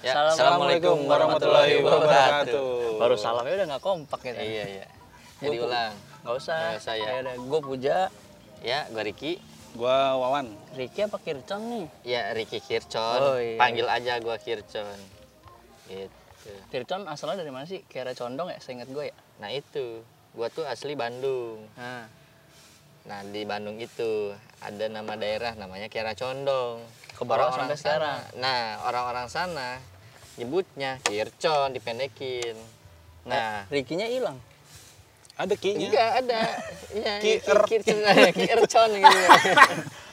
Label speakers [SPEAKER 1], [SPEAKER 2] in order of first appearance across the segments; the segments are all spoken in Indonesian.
[SPEAKER 1] Ya,
[SPEAKER 2] Assalamualaikum warahmatullahi wabarakatuh.
[SPEAKER 1] Baru salamnya udah nggak kompak gitu.
[SPEAKER 2] Iya iya. Jadi
[SPEAKER 1] Gua-
[SPEAKER 2] ulang.
[SPEAKER 1] Nggak usah.
[SPEAKER 2] Nggak usah ya.
[SPEAKER 1] Gue puja
[SPEAKER 2] Ya, gua Riki.
[SPEAKER 3] Gua Wawan.
[SPEAKER 1] Ricky apa Kircon nih?
[SPEAKER 2] Ya Riki Kircon.
[SPEAKER 1] Oh, iya.
[SPEAKER 2] Panggil aja gua Kircon. Gitu.
[SPEAKER 1] Kircon asalnya dari mana sih? Kira condong ya, seinget gue ya.
[SPEAKER 2] Nah itu, gua tuh asli Bandung.
[SPEAKER 1] Nah,
[SPEAKER 2] Nah di Bandung itu ada nama daerah namanya Kiara Condong.
[SPEAKER 1] Ke bawah sampai
[SPEAKER 2] Orang-orang
[SPEAKER 1] sekarang.
[SPEAKER 2] sana- Nah orang-orang sana nyebutnya Kircon dipendekin. Nah
[SPEAKER 1] Ricky-nya hilang.
[SPEAKER 3] Ada
[SPEAKER 1] Eh,
[SPEAKER 3] kinya.
[SPEAKER 2] Enggak ada. Iya,
[SPEAKER 3] Ki-
[SPEAKER 2] Ki- Kircon aja, Kircon gitu.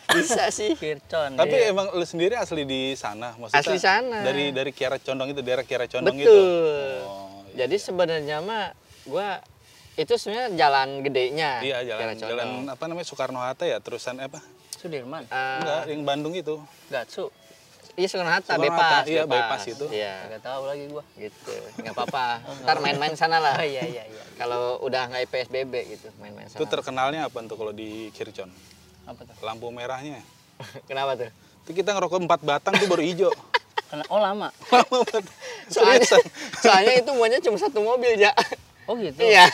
[SPEAKER 2] Bisa sih.
[SPEAKER 1] Kircon. iya.
[SPEAKER 3] Tapi emang lu sendiri asli di sana, maksudnya?
[SPEAKER 2] Asli sana.
[SPEAKER 3] Dari dari Kiara Condong itu, daerah Kiara Condong itu.
[SPEAKER 2] Betul.
[SPEAKER 3] gitu? Oh, iya.
[SPEAKER 2] Jadi sebenarnya mah gua itu sebenarnya jalan gedenya.
[SPEAKER 3] Iya,
[SPEAKER 2] Kiara
[SPEAKER 3] jalan
[SPEAKER 2] Condong.
[SPEAKER 3] jalan apa namanya Soekarno Hatta ya, terusan apa?
[SPEAKER 1] Sudirman,
[SPEAKER 2] Eh,
[SPEAKER 3] Enggak, yang Bandung itu.
[SPEAKER 1] Gatsu.
[SPEAKER 2] iya Soekarno Hatta,
[SPEAKER 3] Soekarno
[SPEAKER 2] Bepas.
[SPEAKER 3] Hatta, iya, Bypass itu.
[SPEAKER 2] Iya.
[SPEAKER 1] Gak tahu lagi gue.
[SPEAKER 2] Gitu. Enggak apa-apa. Ntar main-main sana lah.
[SPEAKER 1] Oh iya iya iya.
[SPEAKER 2] Kalau udah nggak PSBB gitu, main-main sana.
[SPEAKER 3] Itu terkenalnya apa tuh kalau di Kircon?
[SPEAKER 1] Apa tuh?
[SPEAKER 3] Lampu merahnya.
[SPEAKER 2] Kenapa tuh?
[SPEAKER 3] Itu kita ngerokok empat batang tuh baru hijau.
[SPEAKER 1] Kena oh lama.
[SPEAKER 3] Lama banget.
[SPEAKER 2] Soalnya,
[SPEAKER 3] Seriusan.
[SPEAKER 2] soalnya itu muanya cuma satu mobil, ya.
[SPEAKER 1] Oh gitu.
[SPEAKER 2] Iya.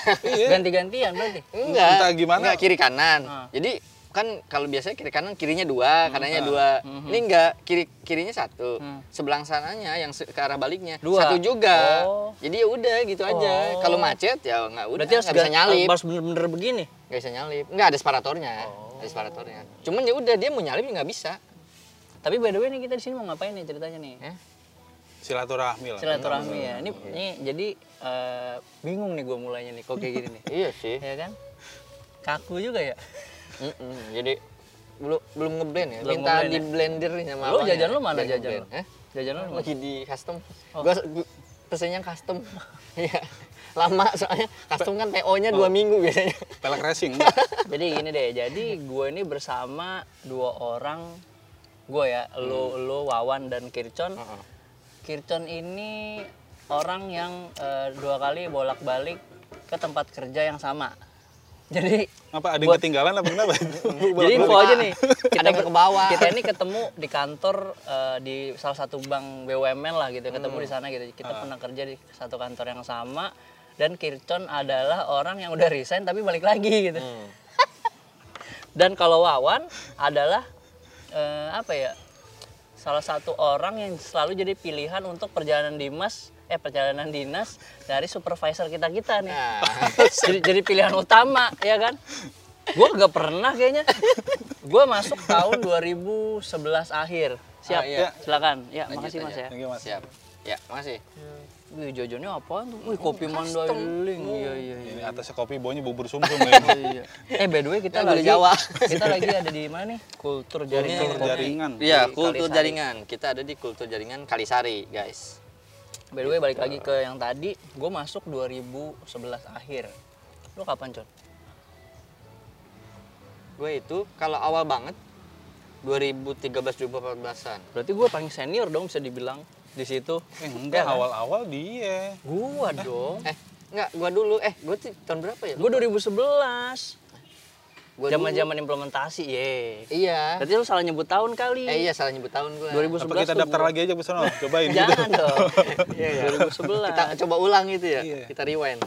[SPEAKER 1] Ganti-gantian berarti.
[SPEAKER 2] Enggak.
[SPEAKER 3] Entah gimana.
[SPEAKER 2] Enggak kiri kanan.
[SPEAKER 1] Ah.
[SPEAKER 2] Jadi kan kalau biasanya kiri kanan kirinya dua, kanannya dua.
[SPEAKER 1] Mhm.
[SPEAKER 2] Ini enggak kiri kirinya satu.
[SPEAKER 1] Hmm.
[SPEAKER 2] Sebelang sananya yang se- ke arah baliknya
[SPEAKER 1] Dua.
[SPEAKER 2] satu juga.
[SPEAKER 1] Oh.
[SPEAKER 2] Jadi ya udah gitu aja.
[SPEAKER 1] Oh.
[SPEAKER 2] Kalau macet ya enggak udah
[SPEAKER 1] Berarti harus
[SPEAKER 2] nggak bisa
[SPEAKER 1] gan-
[SPEAKER 2] nyalip.
[SPEAKER 1] Harus bener-bener begini.
[SPEAKER 2] Enggak bisa nyalip. Enggak ada separatornya.
[SPEAKER 1] Oh.
[SPEAKER 2] Ada separatornya. Cuman ya udah dia mau nyalip ya nggak bisa.
[SPEAKER 1] Tapi by the way nih kita di sini mau ngapain nih ceritanya nih?
[SPEAKER 2] Eh? iya.
[SPEAKER 3] Silaturahmi lah.
[SPEAKER 1] Silaturahmi ya. Ini, ini jadi eh, bingung nih gue mulainya nih kok kayak gini nih.
[SPEAKER 2] Iya sih.
[SPEAKER 1] ya kan? Kaku juga ya.
[SPEAKER 2] Mm-mm. Jadi belum belum ngeblend ya.
[SPEAKER 1] Belum
[SPEAKER 2] Minta
[SPEAKER 1] ngeblend
[SPEAKER 2] di
[SPEAKER 1] ya.
[SPEAKER 2] blender nih sama
[SPEAKER 1] Lu
[SPEAKER 2] abangnya.
[SPEAKER 1] jajan lu mana
[SPEAKER 2] Biar
[SPEAKER 1] jajan
[SPEAKER 2] ngeblend.
[SPEAKER 1] lu?
[SPEAKER 2] Eh?
[SPEAKER 1] Jajanan lu
[SPEAKER 2] lagi di custom.
[SPEAKER 1] Oh.
[SPEAKER 2] Gua, gua pesennya custom. Iya. Lama soalnya custom kan PO-nya
[SPEAKER 1] Oh.
[SPEAKER 2] dua minggu biasanya.
[SPEAKER 3] Pelek racing.
[SPEAKER 1] Jadi gini deh, jadi gue ini bersama dua orang gue ya, lu lu Wawan dan Kircon. Kircon ini orang yang eh, dua kali bolak-balik ke tempat kerja yang sama. Jadi
[SPEAKER 3] apa ada yang ketinggalan apa kenapa?
[SPEAKER 1] jadi info aja nih,
[SPEAKER 2] Kita
[SPEAKER 1] ber-
[SPEAKER 2] ke bawah.
[SPEAKER 1] Kita ini ketemu di kantor eh, di salah satu bank BUMN lah gitu, ketemu di sana gitu. Kita pernah kerja di satu kantor yang sama dan Kircon adalah orang yang udah resign tapi balik lagi gitu. Dan kalau Wawan adalah eh, apa ya? Salah satu orang yang selalu jadi pilihan untuk perjalanan dimas eh perjalanan dinas dari supervisor kita kita nih.
[SPEAKER 2] Nah.
[SPEAKER 1] jadi, jadi pilihan utama ya kan? Gue gak pernah kayaknya. Gue masuk tahun 2011 akhir. Siap,
[SPEAKER 2] Ah, iya.
[SPEAKER 1] silakan. Ya,
[SPEAKER 2] Lanjut
[SPEAKER 1] makasih mas
[SPEAKER 2] aja.
[SPEAKER 1] ya. Hmm.
[SPEAKER 3] Thank you, Mas.
[SPEAKER 2] Siap. Ya, makasih.
[SPEAKER 1] Wih, jajannya apaan tuh? Wih, kopi mandailing.
[SPEAKER 2] Hmm.
[SPEAKER 1] Iya, iya, iya.
[SPEAKER 3] Ini atasnya kopi baunya bubur sumsum ya.
[SPEAKER 1] Iya. Eh by the way
[SPEAKER 2] Ya,
[SPEAKER 1] kita
[SPEAKER 2] boleh
[SPEAKER 1] lagi
[SPEAKER 2] Jawa.
[SPEAKER 1] kita lagi ada di mana nih? Kultur jaringan.
[SPEAKER 3] Kultur jaringan.
[SPEAKER 2] Iya,
[SPEAKER 1] Di
[SPEAKER 2] kultur
[SPEAKER 1] Kalisari.
[SPEAKER 2] jaringan. Kita ada di kultur jaringan Kalisari, guys.
[SPEAKER 1] By the way balik lagi ke yang tadi, gue masuk 2011 akhir. Lu kapan, Con?
[SPEAKER 2] Gue itu kalau awal banget 2013-2014an.
[SPEAKER 1] Berarti gue paling senior dong bisa dibilang di situ.
[SPEAKER 3] Eh,
[SPEAKER 1] Iya,
[SPEAKER 3] enggak
[SPEAKER 1] kan?
[SPEAKER 3] awal-awal dia.
[SPEAKER 1] Gua dong.
[SPEAKER 2] Eh, enggak, gua dulu. Eh, gua tuh tahun berapa ya?
[SPEAKER 1] Gue 2011.
[SPEAKER 2] Gua dulu.
[SPEAKER 1] Zaman-zaman implementasi, ye.
[SPEAKER 2] Iya.
[SPEAKER 1] Berarti lu salah nyebut tahun kali.
[SPEAKER 2] Eh, iya salah nyebut tahun gua.
[SPEAKER 1] 2011
[SPEAKER 3] Apa kita
[SPEAKER 1] tuh
[SPEAKER 3] daftar
[SPEAKER 1] gua.
[SPEAKER 3] lagi aja pesan cobain gitu.
[SPEAKER 1] Jangan dong.
[SPEAKER 2] Iya, iya.
[SPEAKER 1] 2011.
[SPEAKER 2] kita coba ulang gitu ya
[SPEAKER 3] Iya.
[SPEAKER 2] kita rewind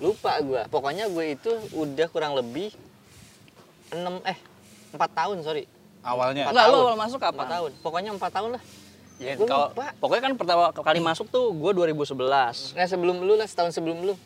[SPEAKER 2] lupa gue pokoknya gue itu udah kurang lebih 6 eh 4 tahun sorry
[SPEAKER 3] Awalnya.
[SPEAKER 1] Enggak, lu
[SPEAKER 2] tahun.
[SPEAKER 1] awal masuk
[SPEAKER 2] empat
[SPEAKER 1] kapan?
[SPEAKER 2] tahun pokoknya empat tahun lah
[SPEAKER 1] Ya,
[SPEAKER 2] Gua
[SPEAKER 1] kalau-
[SPEAKER 2] lupa.
[SPEAKER 1] pokoknya kan pertama kali masuk tuh gue 2011.
[SPEAKER 2] nah sebelum lu lah setahun sebelum lu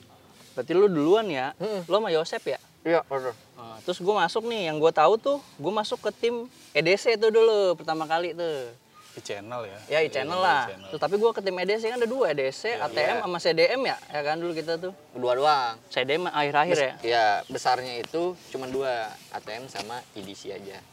[SPEAKER 1] Berarti lu duluan ya.
[SPEAKER 2] Mm-mm.
[SPEAKER 1] Lu sama Yosep ya?
[SPEAKER 2] iya order
[SPEAKER 1] Nah, terus gue masuk nih, yang gue tahu tuh, gue masuk ke tim EDC tuh dulu pertama kali tuh.
[SPEAKER 3] Di channel ya.
[SPEAKER 1] Ya, di channel
[SPEAKER 3] Iya,
[SPEAKER 1] lah.
[SPEAKER 3] di channel. Iya,
[SPEAKER 1] Terus, tapi gue ke tim EDC kan ada dua, EDC, ATM, sama CDM ya. Ya kan dulu kita tuh.
[SPEAKER 2] dua doang
[SPEAKER 1] CDM akhir-akhir ya.
[SPEAKER 2] ya besarnya itu cuma dua ATM sama EDC aja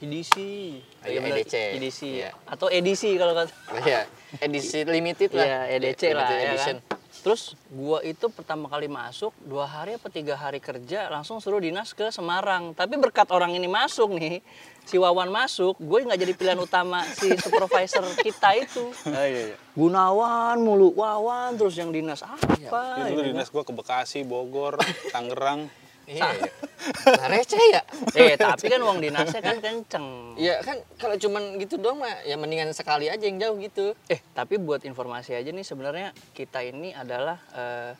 [SPEAKER 3] E
[SPEAKER 1] EDC.
[SPEAKER 2] Oh, iya,
[SPEAKER 1] bener,
[SPEAKER 2] EDC.
[SPEAKER 1] EDC.
[SPEAKER 2] Iya.
[SPEAKER 1] ya? Atau EDC kalau kata.
[SPEAKER 2] ya edisi limited lah
[SPEAKER 1] Iya, EDC lah
[SPEAKER 2] Limited
[SPEAKER 1] ya
[SPEAKER 2] edition.
[SPEAKER 1] kan. Terus gua itu pertama kali masuk dua hari apa tiga hari kerja langsung suruh dinas ke Semarang. Tapi berkat orang ini masuk nih, si Wawan masuk, gue nggak jadi pilihan utama si supervisor kita itu. iya, Gunawan mulu, Wawan terus yang Iya, dinas apa?
[SPEAKER 3] Iya, Jadi dulu dinas gua ke Bekasi, Bogor, Tangerang.
[SPEAKER 2] Iya. Nah, receh ya.
[SPEAKER 1] Eh, tapi kan uang dinasnya kan kenceng.
[SPEAKER 2] Ya kan kalau cuman gitu doang mah ya mendingan sekali aja yang jauh gitu.
[SPEAKER 1] Eh, tapi buat informasi aja nih sebenarnya kita ini adalah eh,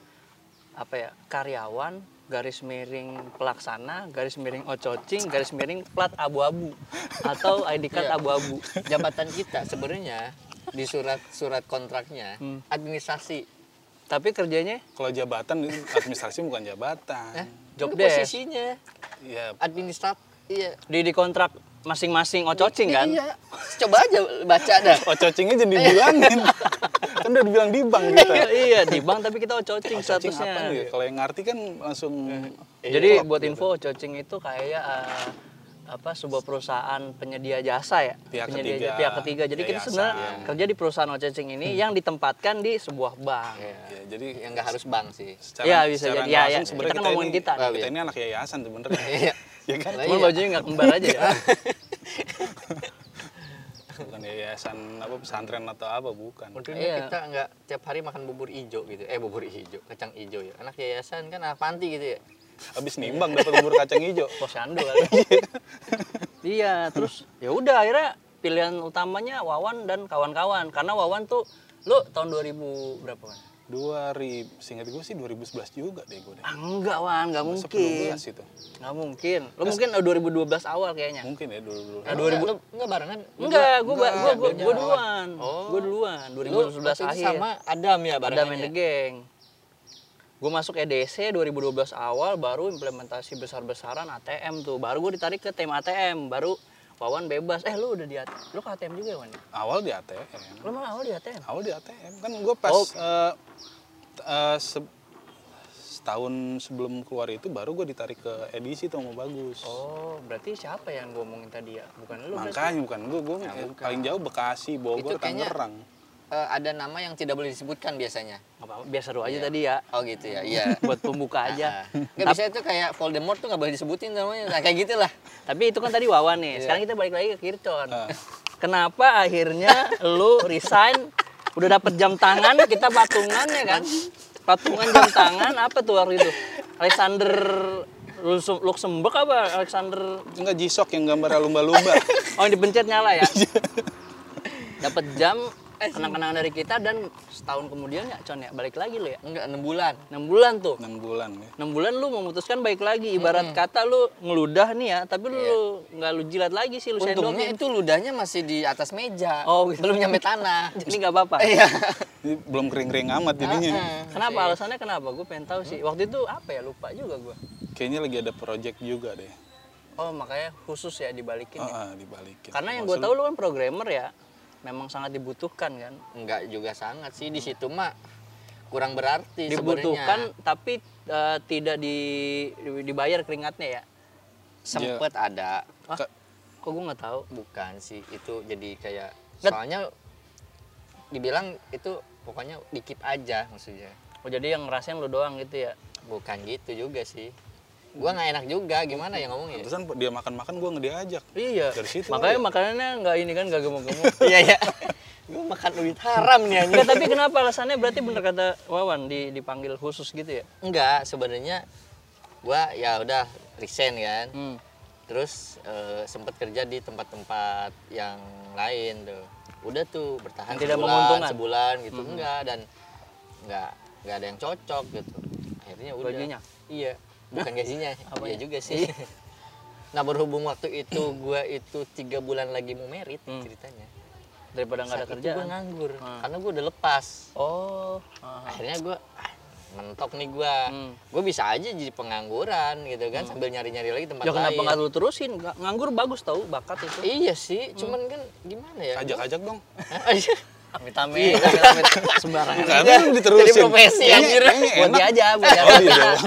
[SPEAKER 1] apa ya? karyawan garis miring pelaksana, garis miring ococing, garis miring plat abu-abu atau ID card
[SPEAKER 2] Iya.
[SPEAKER 1] abu-abu.
[SPEAKER 2] Jabatan kita sebenarnya di surat-surat kontraknya
[SPEAKER 1] Hmm.
[SPEAKER 2] administrasi.
[SPEAKER 1] Tapi kerjanya
[SPEAKER 3] Kalau jabatan administrasi bukan jabatan.
[SPEAKER 2] Nah,
[SPEAKER 1] Job
[SPEAKER 2] kan
[SPEAKER 1] desk.
[SPEAKER 2] posisinya
[SPEAKER 3] Ya
[SPEAKER 2] administrat iya.
[SPEAKER 1] di di kontrak masing-masing ococing kan?
[SPEAKER 2] Iya. Coba aja baca dah.
[SPEAKER 3] Oh cocingnya jadi bilangin. kan udah dibilang di bank gitu.
[SPEAKER 1] Iya, iya, di bank tapi kita ococing
[SPEAKER 3] Cocing apa
[SPEAKER 2] ya?
[SPEAKER 1] statusnya. Eh,
[SPEAKER 3] nih? Kalau yang ngerti kan langsung eh,
[SPEAKER 1] Jadi buat info cocing itu kayak eh, apa sebuah perusahaan penyedia jasa ya
[SPEAKER 3] Pihak
[SPEAKER 1] penyedia
[SPEAKER 3] ketiga.
[SPEAKER 1] pihak ketiga Iya, jadi kita
[SPEAKER 3] Yayasan.
[SPEAKER 1] sebenarnya kerja di perusahaan ococing ini yang ditempatkan di sebuah bank
[SPEAKER 3] ya, jadi
[SPEAKER 2] Iya. Yang nggak harus bank sih.
[SPEAKER 3] secara,
[SPEAKER 1] Iya, bisa
[SPEAKER 3] secara
[SPEAKER 1] jadi. Iya,
[SPEAKER 3] langsung
[SPEAKER 1] iya. Kita
[SPEAKER 3] sebenarnya
[SPEAKER 1] kan
[SPEAKER 3] kita,
[SPEAKER 1] ngomongin
[SPEAKER 3] ini, Nah,
[SPEAKER 1] kita.
[SPEAKER 3] kita,
[SPEAKER 2] Iya.
[SPEAKER 3] ini anak yayasan sebenarnya.
[SPEAKER 2] Iya.
[SPEAKER 3] ya kan?
[SPEAKER 1] cuma
[SPEAKER 2] Iya.
[SPEAKER 1] bajunya nggak kembar aja ya
[SPEAKER 3] Bukan yayasan apa pesantren atau apa bukan.
[SPEAKER 2] Untungnya
[SPEAKER 1] Iya.
[SPEAKER 2] kita nggak tiap hari makan bubur ijo gitu. Eh bubur ijo, kacang ijo ya. Anak yayasan kan anak panti gitu ya.
[SPEAKER 3] Habis nimbang dapat bubur kacang hijau.
[SPEAKER 1] posyandu kali kan. iya terus ya udah akhirnya pilihan utamanya Wawan dan kawan-kawan karena Wawan tuh lu tahun 2000 berapa kan?
[SPEAKER 3] 2000, seingat gue sih 2011 juga deh gue deh.
[SPEAKER 1] Ah, enggak Wan, nggak
[SPEAKER 3] Masa
[SPEAKER 1] mungkin.
[SPEAKER 3] 2012 itu.
[SPEAKER 1] Nggak mungkin. Lu mungkin eh, 2012 awal kayaknya.
[SPEAKER 3] Mungkin ya 2012.
[SPEAKER 2] Eh, 2000 enggak, enggak barengan.
[SPEAKER 1] Enggak, Iya. gue gua,
[SPEAKER 2] Enggak,
[SPEAKER 1] gua, gua,
[SPEAKER 2] beda.
[SPEAKER 1] gua duluan.
[SPEAKER 2] Oh.
[SPEAKER 1] Gue duluan,
[SPEAKER 2] Lu waktu itu
[SPEAKER 1] 2011 akhir.
[SPEAKER 2] sama Adam ya
[SPEAKER 1] ada
[SPEAKER 2] barengan.
[SPEAKER 1] main
[SPEAKER 2] ya?
[SPEAKER 1] the gang. Gue masuk E EDC 2012 awal, baru implementasi besar-besaran ATM tuh. Baru gue ditarik ke tim ATM, baru Wawan bebas. Eh lu udah di ATM, lu ke ATM juga ya Wan?
[SPEAKER 3] Awal di ATM.
[SPEAKER 1] Lu malah awal di ATM?
[SPEAKER 3] awal di ATM kan gue pas
[SPEAKER 1] Oh.
[SPEAKER 3] eh, t- eh, se- setahun sebelum keluar itu baru gue ditarik ke edisi tuh sama bagus
[SPEAKER 1] Oh, berarti siapa yang gue omongin tadi ya? Bukan lu Ya, berarti.
[SPEAKER 3] makanya bukan gue gue paling jauh Bekasi
[SPEAKER 2] Itu
[SPEAKER 3] Bogor kan
[SPEAKER 2] kayaknya-
[SPEAKER 3] Tangerang
[SPEAKER 2] Eh, ada nama yang tidak boleh disebutkan biasanya.
[SPEAKER 1] Nggak apa-apa, biar seru aja tadi ya.
[SPEAKER 2] Oh gitu ya. Iya.
[SPEAKER 1] Buat pembuka aja.
[SPEAKER 2] Enggak bisa itu kayak Voldemort tuh nggak boleh disebutin namanya. Nah, kayak gitulah.
[SPEAKER 1] Tapi itu kan tadi Wawan nih. Sekarang kita balik lagi ke Kircon.
[SPEAKER 3] Ah.
[SPEAKER 1] Kenapa akhirnya lu resign? Udah dapet jam tangan, kita patungan ya kan? Patungan jam tangan apa tuh waktu itu? Alexander Luxem- Luxembourg apa Alexander
[SPEAKER 3] enggak jisok yang gambarnya lumba-lumba
[SPEAKER 1] Oh yang dipencet nyala ya? Dapat jam kenang-kenangan dari kita dan setahun kemudian ya Con ya balik lagi lu ya?
[SPEAKER 2] Enggak 6 bulan.
[SPEAKER 1] 6 bulan tuh.
[SPEAKER 3] 6 bulan ya
[SPEAKER 1] 6 bulan lu memutuskan baik lagi ibarat kata lu ngeludah nih ya tapi lu nggak lu jilat lagi sih lu
[SPEAKER 2] Untungnya
[SPEAKER 1] sendokin
[SPEAKER 2] itu ludahnya masih di atas meja.
[SPEAKER 1] Oh, gitu.
[SPEAKER 2] Belum nyampe tanah.
[SPEAKER 1] jadi nggak apa-apa
[SPEAKER 2] Iya.
[SPEAKER 3] Jadi belum kering-kering amat
[SPEAKER 1] Ah,
[SPEAKER 3] jadinya
[SPEAKER 1] kenapa alasannya kenapa gue pengen tahu sih waktu itu apa ya lupa juga gue
[SPEAKER 3] kayaknya lagi ada project juga deh
[SPEAKER 1] oh makanya khusus ya dibalikin ya.
[SPEAKER 3] Ah, ah, dibalikin
[SPEAKER 1] karena yang gue tahu lu kan programmer ya memang sangat dibutuhkan kan
[SPEAKER 2] Enggak juga sangat sih di situ mah kurang berarti
[SPEAKER 3] Iya,
[SPEAKER 1] dibutuhkan tapi eh, tidak di dibayar keringatnya ya
[SPEAKER 2] sempet Iya. ada
[SPEAKER 1] ah, kok gue nggak tahu
[SPEAKER 2] bukan sih itu jadi kayak
[SPEAKER 1] Nggak-
[SPEAKER 2] soalnya dibilang itu pokoknya dikit aja maksudnya
[SPEAKER 1] oh jadi yang ngerasain lu doang gitu ya
[SPEAKER 2] bukan gitu juga sih gua nggak enak juga gimana ya ngomongnya
[SPEAKER 3] terusan kan dia makan-makan gue ngediajak
[SPEAKER 1] Iya.
[SPEAKER 3] Dari situ
[SPEAKER 1] Makanya makanannya nggak ini kan nggak gemuk-gemuk.
[SPEAKER 2] iya ya gua makan duit haram nih
[SPEAKER 1] Nggak,
[SPEAKER 2] anjing
[SPEAKER 1] tapi kenapa alasannya berarti bener kata Wawan di dipanggil khusus gitu ya?
[SPEAKER 2] enggak sebenarnya gua ya udah resign kan
[SPEAKER 1] Hmm.
[SPEAKER 2] terus eh, sempet kerja di tempat-tempat yang lain tuh udah tuh bertahan
[SPEAKER 1] Yang tidak
[SPEAKER 2] sebulan,
[SPEAKER 1] menguntungkan?
[SPEAKER 2] sebulan gitu enggak dan enggak enggak ada yang cocok gitu akhirnya udah
[SPEAKER 1] Gajinya?
[SPEAKER 2] iya bukan gajinya
[SPEAKER 1] Apanya?
[SPEAKER 2] iya juga sih nah berhubung waktu itu gua itu tiga bulan lagi mau merit ceritanya
[SPEAKER 1] Daripada nggak ada
[SPEAKER 2] Saat itu
[SPEAKER 1] kerjaan.
[SPEAKER 2] gua nganggur karena gua udah lepas
[SPEAKER 1] Oh. ah.
[SPEAKER 2] akhirnya gua ah, mentok nih gua
[SPEAKER 1] Hmm.
[SPEAKER 2] gua bisa aja jadi pengangguran gitu kan sambil nyari-nyari lagi tempat
[SPEAKER 1] Ya kenapa
[SPEAKER 2] lain
[SPEAKER 1] nggak lu terusin? Nggak- Nganggur bagus tau bakat itu.
[SPEAKER 2] Iya sih, cuman kan gimana
[SPEAKER 1] Iya.
[SPEAKER 2] ya?
[SPEAKER 3] ajak-ajak dong
[SPEAKER 2] Hah?
[SPEAKER 1] Amit amit, amit Iya, sembarangan.
[SPEAKER 3] Karena belum diterusin
[SPEAKER 2] Jadi profesi,
[SPEAKER 3] Kayaknya-
[SPEAKER 2] anjir.
[SPEAKER 3] kayaknya
[SPEAKER 1] Buat
[SPEAKER 3] enak.
[SPEAKER 1] dia aja, buat dia
[SPEAKER 3] oh
[SPEAKER 1] aja.
[SPEAKER 3] iya doang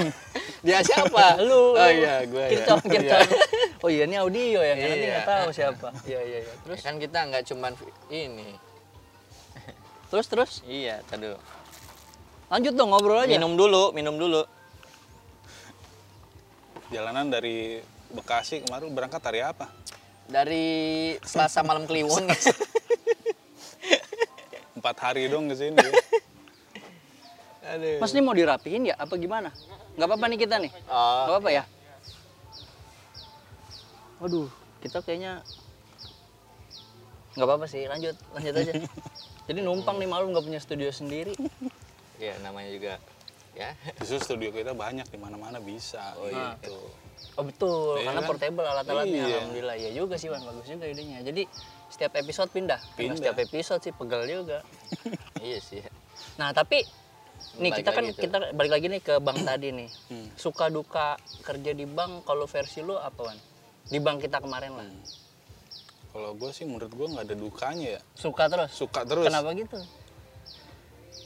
[SPEAKER 2] Dia siapa?
[SPEAKER 1] Lu.
[SPEAKER 2] Oh iya, gue.
[SPEAKER 1] Kircon, kircon. Oh iya ini audio ya, nanti
[SPEAKER 2] Iya.
[SPEAKER 1] nggak tahu siapa. Iya iya iya. Terus
[SPEAKER 2] Kan kita nggak cuman ini.
[SPEAKER 1] terus terus
[SPEAKER 2] Iya, tadi.
[SPEAKER 1] lanjut dong ngobrol aja.
[SPEAKER 2] Minum dulu, minum dulu.
[SPEAKER 3] jalanan dari Bekasi kemarin berangkat hari apa
[SPEAKER 2] Dari Selasa malam Kliwon.
[SPEAKER 3] empat hari dong ke sini
[SPEAKER 2] Aduh.
[SPEAKER 1] Mas ini mau dirapiin ya? Apa gimana? Nggak apa-apa nih kita nih.
[SPEAKER 2] Oh,
[SPEAKER 1] Nggak apa-apa ya? waduh kita kayaknya nggak apa-apa sih lanjut lanjut aja jadi numpang nih malu nggak punya studio sendiri
[SPEAKER 2] ya namanya juga ya
[SPEAKER 3] Justru studio kita banyak di mana-mana bisa gitu.
[SPEAKER 1] oh betul
[SPEAKER 3] Iya
[SPEAKER 1] karena
[SPEAKER 3] kan?
[SPEAKER 1] portable alat-alatnya
[SPEAKER 3] Iya.
[SPEAKER 1] alhamdulillah ya juga sih Wan bagus juga idenya jadi setiap episode pindah Karena
[SPEAKER 3] Pindah.
[SPEAKER 1] setiap episode sih pegal juga
[SPEAKER 2] iya sih
[SPEAKER 1] nah tapi nih
[SPEAKER 2] Balik
[SPEAKER 1] kita kan
[SPEAKER 2] lagi tuh.
[SPEAKER 1] kita balik lagi nih ke bank tadi nih
[SPEAKER 3] Hmm.
[SPEAKER 1] suka duka kerja di bank kalau versi lu apa Wan di bank kita kemarin lah
[SPEAKER 3] Hmm. Kalau gue sih menurut gue nggak ada dukanya ya.
[SPEAKER 1] suka terus
[SPEAKER 3] Suka terus.
[SPEAKER 1] kenapa gitu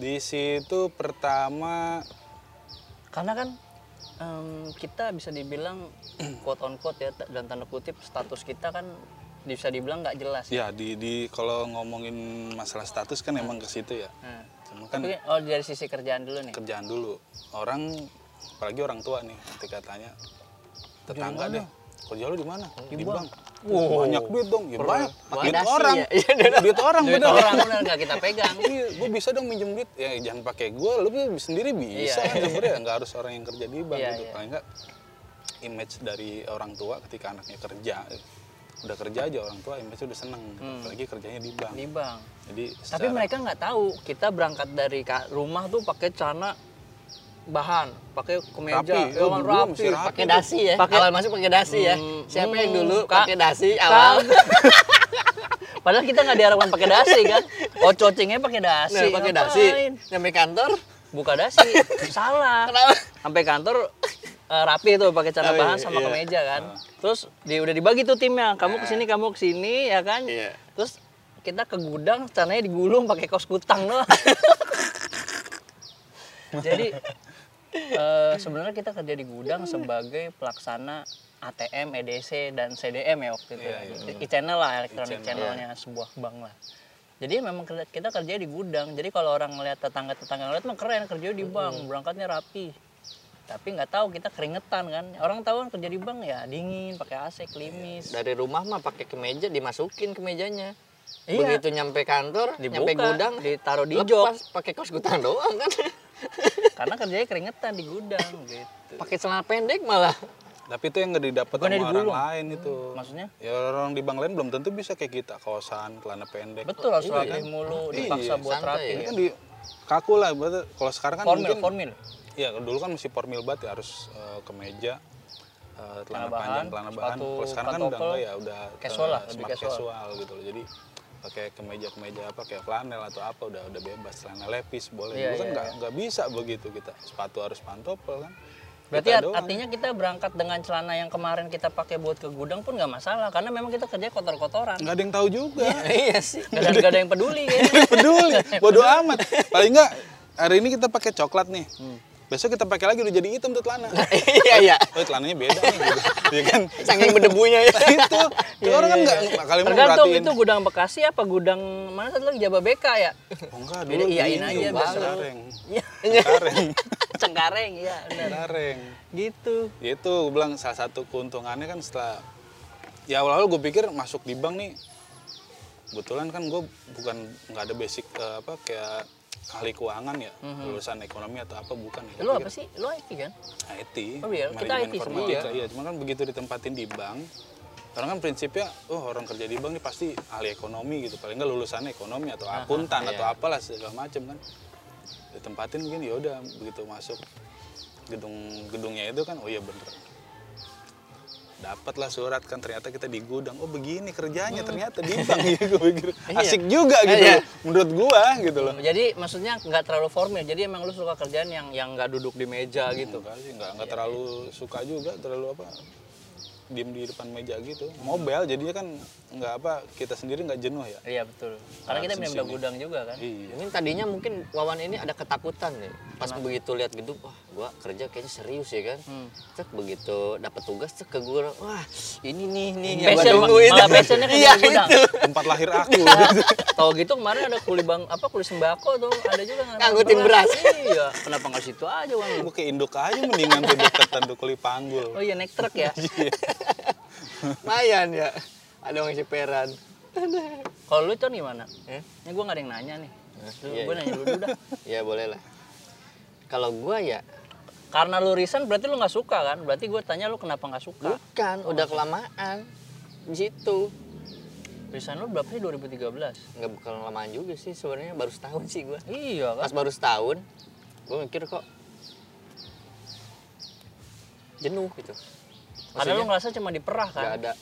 [SPEAKER 3] Di situ pertama
[SPEAKER 1] karena kan em, kita bisa dibilang quote on quote ya t- dalam tanda kutip status kita kan bisa dibilang nggak jelas ya.
[SPEAKER 3] ya di di kalau ngomongin masalah status
[SPEAKER 1] Ah.
[SPEAKER 3] kan emang ke situ ya.
[SPEAKER 1] Nah,
[SPEAKER 3] Cuma kan
[SPEAKER 1] tapi oh dari sisi kerjaan dulu nih
[SPEAKER 3] kerjaan dulu. Orang apalagi orang tua nih nanti katanya tetangga deh. Kerja lu di mana? Di bank. Banyak duit dong, ya banyak. Duit
[SPEAKER 1] Fondasi
[SPEAKER 3] orang.
[SPEAKER 1] ya. Iya,
[SPEAKER 3] Duit orang
[SPEAKER 1] duit
[SPEAKER 3] bener.
[SPEAKER 1] orang benar nggak kita pegang
[SPEAKER 3] Iya, gue bisa dong minjem duit. Ya jangan pakai gue, lu bi- sendiri
[SPEAKER 1] Iya.
[SPEAKER 3] bisa kan sebenarnya nggak harus orang yang kerja di bank
[SPEAKER 1] Iya,
[SPEAKER 3] gitu.
[SPEAKER 1] iya.
[SPEAKER 3] Paling nggak image dari orang tua ketika anaknya kerja udah kerja aja orang tua image udah seneng gitu. apalagi kerjanya di bank
[SPEAKER 1] Hmm. di bank
[SPEAKER 3] jadi
[SPEAKER 1] tapi
[SPEAKER 3] secara-
[SPEAKER 1] mereka nggak tahu kita berangkat dari ka- rumah tuh pakai celana bahan pakai kemeja
[SPEAKER 3] Rapi.
[SPEAKER 1] ya
[SPEAKER 3] Oh,
[SPEAKER 1] kan,
[SPEAKER 3] dulu
[SPEAKER 1] rapi
[SPEAKER 3] masih rapi
[SPEAKER 1] pakai
[SPEAKER 2] pakai
[SPEAKER 1] das
[SPEAKER 2] dasi ya
[SPEAKER 1] Pakai-
[SPEAKER 2] awal masuk pakai dasi ya
[SPEAKER 1] Hmm,
[SPEAKER 2] siapa yang
[SPEAKER 1] hmm,
[SPEAKER 2] dulu
[SPEAKER 1] Kak.
[SPEAKER 2] pakai dasi awal
[SPEAKER 1] padahal kita nggak diharapkan pakai dasi kan oh cocingnya pakai dasi
[SPEAKER 2] nah, pakai dasi
[SPEAKER 1] ngapain?
[SPEAKER 2] nyampe kantor
[SPEAKER 1] buka dasi salah
[SPEAKER 2] Kenapa?
[SPEAKER 1] sampai kantor eh, rapi tuh pakai cara
[SPEAKER 2] Oh,
[SPEAKER 1] bahan
[SPEAKER 2] iya,
[SPEAKER 1] sama
[SPEAKER 2] iya. Ah.
[SPEAKER 1] kemeja kan terus di, udah dibagi tuh timnya kamu kesini kamu kesini ya kan
[SPEAKER 2] Iya.
[SPEAKER 1] terus kita ke gudang caranya digulung pakai kaos kutang doang jadi eh, sebenarnya kita kerja di gudang sebagai pelaksana ATM, EDC E dan CDM ya waktu itu.
[SPEAKER 3] Iya,
[SPEAKER 1] E-channel lah, electronic
[SPEAKER 3] E-channel, iya.
[SPEAKER 1] channelnya sebuah bank lah. Jadi memang kerja- kita kerja di gudang. Jadi kalau orang ngeliat tetangga-tetangga ngeliat mah keren kerja di bank, berangkatnya rapi. Tapi nggak tahu kita keringetan kan. Orang tahu kan kerja di bank ya dingin, pakai AC, klimis.
[SPEAKER 2] dari rumah mah pakai kemeja dimasukin kemejanya
[SPEAKER 1] Iya.
[SPEAKER 2] begitu nyampe kantor nyampe
[SPEAKER 1] Dibuka,
[SPEAKER 2] gudang
[SPEAKER 1] ditaruh di jok.
[SPEAKER 2] lepas pakai kaos kutang doang kan
[SPEAKER 3] Iya.
[SPEAKER 1] Karena kerjanya keringetan di gudang gitu.
[SPEAKER 2] pakai celana pendek malah
[SPEAKER 3] tapi itu yang nggak didapat
[SPEAKER 1] Bukannya
[SPEAKER 3] sama orang
[SPEAKER 1] digulung.
[SPEAKER 3] lain itu
[SPEAKER 1] Maksudnya?
[SPEAKER 3] ya orang di bank lain belum tentu bisa kayak kita kawasan celana pendek
[SPEAKER 1] Betul harus rapi mulu, dipaksa
[SPEAKER 3] kan? Iya,
[SPEAKER 1] buat
[SPEAKER 2] santai
[SPEAKER 1] rapi.
[SPEAKER 3] Ini kan di kaku lah berarti kalau sekarang kan
[SPEAKER 1] Formil,
[SPEAKER 3] mungkin
[SPEAKER 1] formil.
[SPEAKER 3] ya dulu kan masih formil banget ya harus eh, kemeja eh,
[SPEAKER 1] Celana
[SPEAKER 3] celana
[SPEAKER 1] bahan,
[SPEAKER 3] panjang celana bahan
[SPEAKER 1] sepatu
[SPEAKER 3] kalau sekarang kan udah
[SPEAKER 1] pantofel,
[SPEAKER 3] enggak ya udah eh,
[SPEAKER 1] casual lah, lebih
[SPEAKER 3] smart
[SPEAKER 1] casual.
[SPEAKER 3] casual. gitu loh jadi pakai kemeja kemeja apa kayak flanel atau apa udah udah bebas celana lepis boleh
[SPEAKER 1] Iya,
[SPEAKER 3] dulu kan
[SPEAKER 1] iya,
[SPEAKER 3] nggak nggak bisa begitu kita sepatu harus pantopel kan
[SPEAKER 1] Berarti
[SPEAKER 3] Kita
[SPEAKER 1] art-
[SPEAKER 3] doang.
[SPEAKER 1] artinya kita berangkat dengan celana yang kemarin kita pakai buat ke gudang pun nggak masalah karena memang kita kerja kotor-kotoran.
[SPEAKER 3] nggak ada yang tahu juga
[SPEAKER 2] iya sih
[SPEAKER 1] Gak ada, nggak ada yang peduli ya. kayaknya.
[SPEAKER 3] peduli bodoh amat paling nggak hari ini kita pakai coklat nih
[SPEAKER 1] Hmm.
[SPEAKER 3] besok kita pakai lagi udah jadi hitam tuh celana
[SPEAKER 2] iya iya
[SPEAKER 3] oh celananya beda nih gitu. ya kan
[SPEAKER 1] Iya,
[SPEAKER 2] saking berdebunya ya
[SPEAKER 3] itu itu orang kan nggak kalian mau
[SPEAKER 1] Tergantung
[SPEAKER 3] merhatiin
[SPEAKER 1] itu gudang Bekasi apa gudang mana satu lagi Jababeka ya?
[SPEAKER 3] oh enggak
[SPEAKER 1] Jadi
[SPEAKER 3] dulu
[SPEAKER 1] iyain
[SPEAKER 3] ini
[SPEAKER 1] aja,
[SPEAKER 3] Bang.
[SPEAKER 1] biasa.
[SPEAKER 3] Kareng.
[SPEAKER 1] Iya.
[SPEAKER 3] Kareng.
[SPEAKER 1] Cengkareng iya benar.
[SPEAKER 3] Kareng.
[SPEAKER 1] Gitu.
[SPEAKER 3] Ya itu gue bilang salah satu keuntungannya kan setelah ya awal-awal gue pikir masuk di bank nih kebetulan kan gue bukan nggak ada basic eh, apa kayak ahli keuangan ya lulusan ekonomi atau apa bukan ya
[SPEAKER 1] Mhm. Lu apa sih? Lu IT kan?
[SPEAKER 3] IT
[SPEAKER 1] Oh iya, kita
[SPEAKER 3] manajemen
[SPEAKER 1] IT semua
[SPEAKER 3] informatika,
[SPEAKER 1] ya.
[SPEAKER 3] iya cuman kan begitu ditempatin di bank orang kan prinsipnya oh orang kerja di bank ini pasti ahli ekonomi gitu paling nggak lulusannya ekonomi atau akuntan
[SPEAKER 1] iya.
[SPEAKER 3] atau apalah segala macem kan ditempatin mungkin ya udah begitu masuk gedung gedungnya itu kan oh iya bener dapatlah surat kan ternyata kita di gudang oh begini kerjanya
[SPEAKER 1] Hmm.
[SPEAKER 3] ternyata di bank
[SPEAKER 1] Iya,
[SPEAKER 3] gitu gue pikir. asik juga gitu
[SPEAKER 2] Iya.
[SPEAKER 3] loh, menurut gua gitu loh
[SPEAKER 1] Jadi maksudnya nggak terlalu formal. Jadi emang lu suka kerjaan yang yang nggak duduk di meja
[SPEAKER 2] Hmm.
[SPEAKER 1] gitu.
[SPEAKER 3] gitu kan sih nggak nggak terlalu suka juga terlalu apa diem di depan meja gitu mobile jadinya kan nggak apa kita sendiri nggak jenuh ya
[SPEAKER 1] Iya betul. Karena kita
[SPEAKER 3] Langsung
[SPEAKER 1] punya
[SPEAKER 3] sini.
[SPEAKER 1] gudang juga kan.
[SPEAKER 3] iya
[SPEAKER 2] Mungkin tadinya mungkin Wawan ini ada ketakutan nih. Pas begitu lihat gedung, wah gua kerja kayaknya serius ya kan.
[SPEAKER 1] Hmm.
[SPEAKER 2] Cek begitu dapat tugas cek ke gua, wah ini nih nih ya, yang gua
[SPEAKER 1] Passion,
[SPEAKER 2] tungguin.
[SPEAKER 1] malah passionnya kerja
[SPEAKER 2] Iya
[SPEAKER 1] di gudang.
[SPEAKER 2] itu.
[SPEAKER 3] tempat lahir aku
[SPEAKER 1] Tahu gitu kemarin ada kuli bang apa kuli sembako tuh ada juga ngangkut
[SPEAKER 2] Ngangkutin
[SPEAKER 1] Iya, kenapa nggak situ aja bang?
[SPEAKER 3] gue ke induk aja mendingan tuh deket tanduk kuli panggul
[SPEAKER 1] Oh iya naik truk ya.
[SPEAKER 2] Mayan ya. Ada orang ceperan.
[SPEAKER 1] Kalau lu con gimana?
[SPEAKER 2] Eh?
[SPEAKER 1] Ini gue nggak ada yang nanya nih. Lu,
[SPEAKER 2] iya,
[SPEAKER 1] gue
[SPEAKER 2] iya.
[SPEAKER 1] nanya lu dulu dah.
[SPEAKER 2] Ya boleh lah. Kalau gua ya
[SPEAKER 1] Karena lu resign berarti lu nggak suka kan? Berarti gue tanya lu kenapa nggak suka?
[SPEAKER 2] bukan, udah kelamaan. di situ
[SPEAKER 1] Resign lu berapa sih 2013?
[SPEAKER 2] nggak bakal lamaan juga sih sebenarnya baru setahun sih gue
[SPEAKER 1] Iya kan?
[SPEAKER 2] pas baru setahun gue mikir kok jenuh gitu
[SPEAKER 1] Karena lu ngerasa cuma diperah kan?
[SPEAKER 2] nggak ada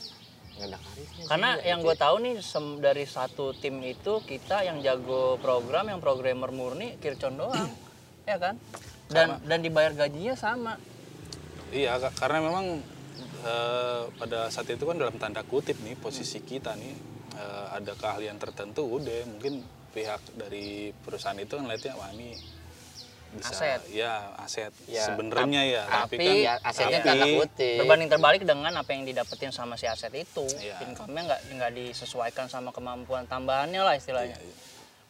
[SPEAKER 2] nggak ada karirnya sih,
[SPEAKER 1] Karena
[SPEAKER 2] nggak
[SPEAKER 1] yang
[SPEAKER 2] gitu
[SPEAKER 1] gue
[SPEAKER 2] ya.
[SPEAKER 1] tahu nih sem- dari satu tim itu kita yang jago program, yang programmer murni Kircon doang, ya kan? Dan dan dibayar gajinya sama.
[SPEAKER 3] Iya, ka- karena memang eh, pada saat itu kan dalam tanda kutip nih posisi kita nih eh, ada keahlian tertentu udah mungkin pihak dari perusahaan itu kan ngeliatnya wah ini bisa
[SPEAKER 1] Aset.
[SPEAKER 3] ya aset
[SPEAKER 2] Ya,
[SPEAKER 3] sebenarnya ya
[SPEAKER 2] tapi, ya, asetnya
[SPEAKER 3] tapi-
[SPEAKER 2] tanda kutip
[SPEAKER 1] Berbanding terbalik dengan apa yang didapetin sama si aset itu,
[SPEAKER 3] Iya.
[SPEAKER 1] income-nya nggak nggak disesuaikan sama kemampuan tambahannya lah istilahnya.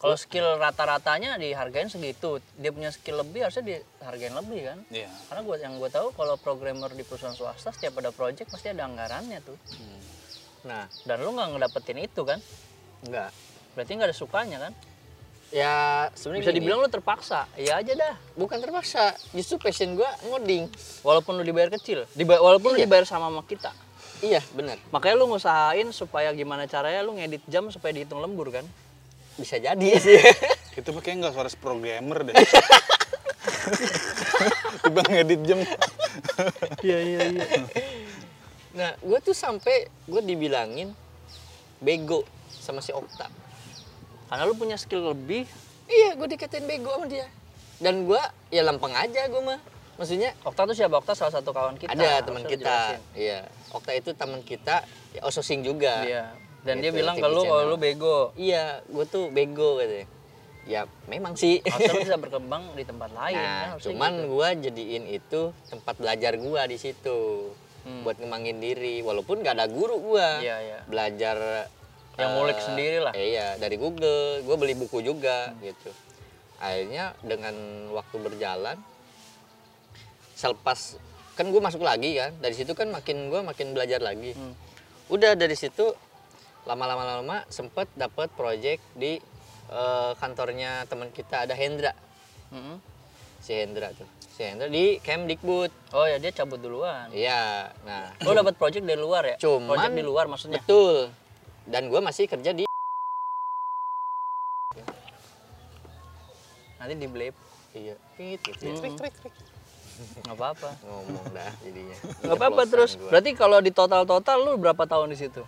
[SPEAKER 1] Kalau skill rata-ratanya dihargain segitu, dia punya skill lebih harusnya dihargain lebih kan?
[SPEAKER 3] Iya.
[SPEAKER 1] Karena gua yang gue tahu kalau programmer di perusahaan swasta setiap ada project pasti ada anggarannya tuh.
[SPEAKER 2] nah
[SPEAKER 1] Dan lu nggak ngedapetin itu kan?
[SPEAKER 2] enggak
[SPEAKER 1] Berarti nggak ada sukanya kan?
[SPEAKER 2] ya sebenarnya
[SPEAKER 1] Bisa
[SPEAKER 2] gini,
[SPEAKER 1] dibilang lu terpaksa. Iya aja dah.
[SPEAKER 2] bukan terpaksa justru passion gue ngoding
[SPEAKER 1] Walaupun lu dibayar kecil, diba- walaupun lu dibayar sama sama kita.
[SPEAKER 2] iya benar
[SPEAKER 1] Makanya lu ngusahain supaya gimana caranya lu ngedit jam supaya dihitung lembur kan?
[SPEAKER 2] bisa jadi
[SPEAKER 1] Iya
[SPEAKER 2] sih
[SPEAKER 3] itu pakai nggak suara programmer deh tiba ngedit jam
[SPEAKER 1] Iya iya iya.
[SPEAKER 2] nah gue tuh sampai gue dibilangin bego sama si Okta
[SPEAKER 1] Karena lu punya skill lebih,
[SPEAKER 2] iya gue dikatain bego sama dia dan gue ya lempeng aja gue mah maksudnya
[SPEAKER 1] Okta tuh siapa? Okta salah satu kawan kita.
[SPEAKER 2] ada teman
[SPEAKER 1] Harusnya lu
[SPEAKER 2] kita
[SPEAKER 1] jelasin.
[SPEAKER 2] iya Okta itu teman kita ya, ososing juga
[SPEAKER 1] Iya. Dan dia
[SPEAKER 2] Gitu,
[SPEAKER 1] bilang ke
[SPEAKER 2] TV
[SPEAKER 1] lu kalau
[SPEAKER 2] channel.
[SPEAKER 1] lu bego.
[SPEAKER 2] iya gue tuh bego katanya ya memang sih
[SPEAKER 1] Harusnya lu bisa berkembang di tempat lain. kan?
[SPEAKER 2] Nah,
[SPEAKER 1] Harusnya gitu.
[SPEAKER 2] cuman gua jadiin itu tempat belajar gua di situ. Buat ngembangin diri walaupun gak ada guru gua.
[SPEAKER 1] Hmm. Iya, iya.
[SPEAKER 2] Belajar
[SPEAKER 1] Yang
[SPEAKER 2] eh,
[SPEAKER 1] ngulik sendiri lah.
[SPEAKER 2] Iya, dari Google. Gua beli buku juga
[SPEAKER 1] Hmm.
[SPEAKER 2] gitu. Akhirnya dengan waktu berjalan selepas kan gue masuk lagi kan. Dari situ kan makin gua makin belajar lagi.
[SPEAKER 1] Hmm.
[SPEAKER 2] Udah dari situ lama-lama lama sempet dapat project di eh, kantornya teman kita ada Hendra
[SPEAKER 1] Mm-mm.
[SPEAKER 2] si Hendra tuh si Hendra di Kemdikbud
[SPEAKER 1] Oh ya dia cabut duluan.
[SPEAKER 2] iya nah
[SPEAKER 1] Lu dapat project dari luar ya?
[SPEAKER 2] Cuman-
[SPEAKER 1] project di luar maksudnya.
[SPEAKER 2] betul dan gue masih kerja di
[SPEAKER 1] Nanti di blip.
[SPEAKER 2] iya pit gitu ya.
[SPEAKER 1] Enggak apa-apa.
[SPEAKER 2] ngomong dah jadinya
[SPEAKER 1] Enggak apa-apa
[SPEAKER 2] Keceplosan
[SPEAKER 1] terus.
[SPEAKER 2] gua.
[SPEAKER 1] Berarti kalau di total-total lu berapa tahun di situ?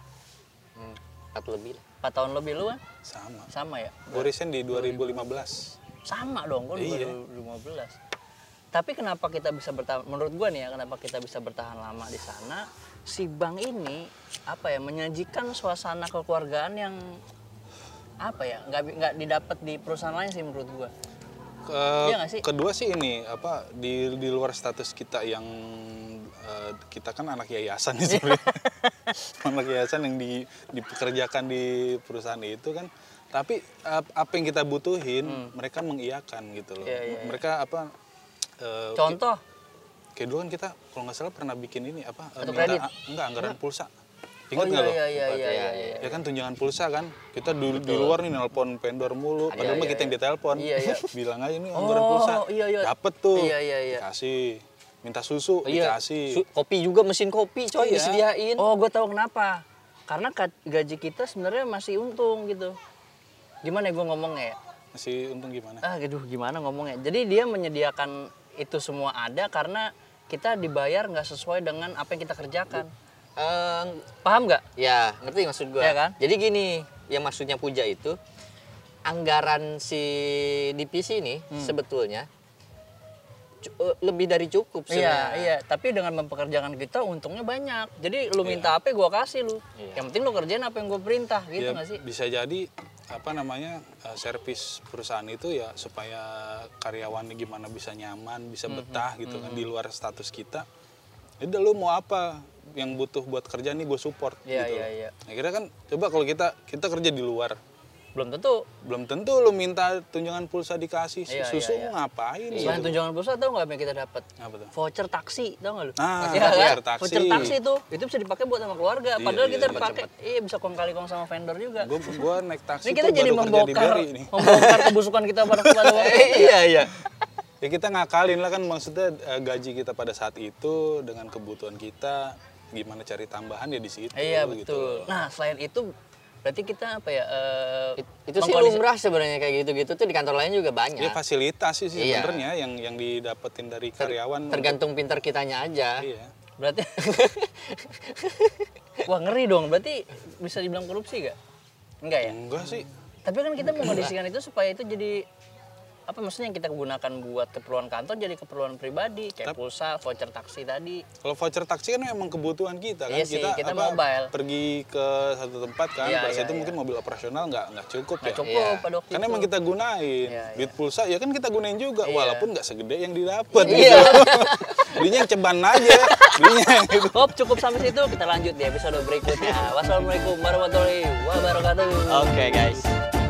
[SPEAKER 2] Hmm, empat lebih lah
[SPEAKER 1] 4 tahun lebih lu kan?
[SPEAKER 3] sama
[SPEAKER 1] Sama ya?
[SPEAKER 3] gue resign di 2015
[SPEAKER 1] Sama dong, gua
[SPEAKER 3] Iya.
[SPEAKER 1] dulu 2015. Tapi kenapa kita bisa bertahan menurut gua nih ya, kenapa kita bisa bertahan lama di sana? Si Bang ini apa ya menyajikan suasana kekeluargaan yang apa ya nggak bi- nggak didapat di perusahaan lain sih menurut gua
[SPEAKER 3] Ke-
[SPEAKER 1] Iya nggak sih?
[SPEAKER 3] Eh, Kedua sih ini apa di di luar status kita yang eh, kita kan anak yayasan nih sebenarnya. anak yayasan yang di- dipekerjakan di perusahaan itu kan. Tapi ap- apa yang kita butuhin mereka mengiyakan gitu loh.
[SPEAKER 1] Hmm. Iya, iya, iya.
[SPEAKER 3] Mereka apa? eh,
[SPEAKER 1] contoh
[SPEAKER 3] ki- kayak dulu kan kita kalau nggak salah pernah bikin ini apa? eh,
[SPEAKER 1] Kartu
[SPEAKER 3] minta
[SPEAKER 1] kredit?
[SPEAKER 3] a- enggak anggaran pulsa.
[SPEAKER 1] oh
[SPEAKER 3] Ingat
[SPEAKER 1] iya
[SPEAKER 3] nggak lo?
[SPEAKER 1] iya iya iya
[SPEAKER 2] Iya,
[SPEAKER 1] iya
[SPEAKER 2] iya.
[SPEAKER 3] Ya kan tunjangan pulsa kan. Kita dulu di luar nih nelpon vendor mulu. Padahal mah
[SPEAKER 1] iya,
[SPEAKER 3] kita yang ditelepon.
[SPEAKER 1] Iya, iya.
[SPEAKER 3] Bilang aja nih
[SPEAKER 1] Oh,
[SPEAKER 3] anggaran pulsa.
[SPEAKER 1] iya, iya.
[SPEAKER 3] Dapet tuh.
[SPEAKER 1] Iya, iya, iya.
[SPEAKER 3] Dikasih. Minta susu dikasih.
[SPEAKER 2] Su- kopi juga mesin kopi coy
[SPEAKER 3] Iya.
[SPEAKER 2] disediain
[SPEAKER 1] Oh, gue tahu kenapa. Karena ka- gaji kita sebenarnya masih untung gitu. Gimana gue ngomongnya ya?
[SPEAKER 3] Masih untung gimana?
[SPEAKER 1] Ah, aduh, gimana ngomongnya? Jadi dia menyediakan itu semua ada karena kita dibayar nggak sesuai dengan apa yang kita kerjakan.
[SPEAKER 2] Eh,
[SPEAKER 1] Paham nggak?
[SPEAKER 2] ya ngerti maksud gua
[SPEAKER 1] Iya kan?
[SPEAKER 2] jadi gini yang maksudnya puja itu anggaran si divisi ini
[SPEAKER 1] Hmm.
[SPEAKER 2] sebetulnya cu- eh, lebih dari cukup sebenarnya.
[SPEAKER 1] Iya, iya. Tapi dengan mempekerjakan kita untungnya banyak. Jadi lu
[SPEAKER 3] Iya.
[SPEAKER 1] minta apa, gue kasih lu. Yang penting lu kerjain apa yang gue perintah, gitu
[SPEAKER 3] Ya,
[SPEAKER 1] nggak sih?
[SPEAKER 3] bisa jadi apa namanya eh, servis perusahaan itu ya supaya karyawannya gimana bisa nyaman bisa betah gitu kan di luar status kita Ya udah lu mau apa yang butuh buat kerja nih gue support
[SPEAKER 1] Iya,
[SPEAKER 3] gitu
[SPEAKER 1] iya, iya.
[SPEAKER 3] akhirnya kan coba kalau kita kita kerja di luar
[SPEAKER 1] Belum tentu.
[SPEAKER 3] belum tentu lu minta tunjangan pulsa dikasih
[SPEAKER 1] Iya,
[SPEAKER 3] susu
[SPEAKER 1] iya, iya.
[SPEAKER 3] ngapain
[SPEAKER 1] Selain
[SPEAKER 3] gitu.
[SPEAKER 1] tunjangan pulsa, tau nggak apa yang kita dapat?
[SPEAKER 3] Apa tuh?
[SPEAKER 1] voucher taksi tau gak lu? Iya
[SPEAKER 3] Ah,
[SPEAKER 1] kan?
[SPEAKER 3] voucher taksi.
[SPEAKER 1] Voucher taksi itu itu bisa dipakai buat sama keluarga.
[SPEAKER 3] Iya,
[SPEAKER 1] Padahal
[SPEAKER 3] iya,
[SPEAKER 1] kita
[SPEAKER 3] iya.
[SPEAKER 1] pakai iya bisa kong kali kong sama vendor juga.
[SPEAKER 3] Gue gua naik taksi
[SPEAKER 1] Ini kita
[SPEAKER 3] tuh
[SPEAKER 1] jadi
[SPEAKER 3] baru kerja di
[SPEAKER 1] membongkar
[SPEAKER 3] Beri nih.
[SPEAKER 1] membongkar kebusukan kita pada keluarga.
[SPEAKER 2] iya iya
[SPEAKER 3] Ya kita ngakalin lah kan maksudnya eh, gaji kita pada saat itu dengan kebutuhan kita gimana cari tambahan ya di situ
[SPEAKER 1] iya
[SPEAKER 3] gitu.
[SPEAKER 1] betul. Nah selain itu berarti kita apa ya? eh,
[SPEAKER 2] It- itu sih
[SPEAKER 1] mengkondisi-
[SPEAKER 2] lumrah sebenarnya kayak gitu-gitu tuh di kantor lain juga banyak.
[SPEAKER 3] Ya fasilitas sih
[SPEAKER 2] Iya.
[SPEAKER 3] sebenarnya yang yang didapetin dari karyawan.
[SPEAKER 2] Tergantung pinter kitanya aja.
[SPEAKER 3] Iya.
[SPEAKER 1] Berarti Wah ngeri dong. Berarti bisa dibilang korupsi gak? Enggak ya?
[SPEAKER 3] Enggak sih.
[SPEAKER 1] Tapi kan kita mengkondisikan itu supaya itu jadi apa maksudnya yang kita gunakan buat keperluan kantor jadi keperluan pribadi kayak pulsa, voucher taksi tadi.
[SPEAKER 3] Kalau voucher taksi kan memang kebutuhan kita kan
[SPEAKER 1] Iya sih, kita mobile.
[SPEAKER 3] pergi ke satu tempat kan,
[SPEAKER 1] Iya,
[SPEAKER 3] pada saat
[SPEAKER 1] iya,
[SPEAKER 3] itu mungkin mobil operasional nggak nggak cukup
[SPEAKER 1] Nggak
[SPEAKER 3] ya.
[SPEAKER 1] cukup
[SPEAKER 2] Iya.
[SPEAKER 1] pada waktu
[SPEAKER 3] Karena
[SPEAKER 1] itu.
[SPEAKER 3] emang kita gunain
[SPEAKER 1] Iya,
[SPEAKER 3] duit pulsa ya kan kita gunain juga
[SPEAKER 1] Iya.
[SPEAKER 3] walaupun nggak segede yang didapat
[SPEAKER 2] Iya.
[SPEAKER 3] Belinya yang ceban aja, belinya yang itu.
[SPEAKER 1] Iya. Hop, cukup sampai situ. Kita lanjut di episode berikutnya. Wassalamualaikum warahmatullahi wabarakatuh.
[SPEAKER 2] Oke guys.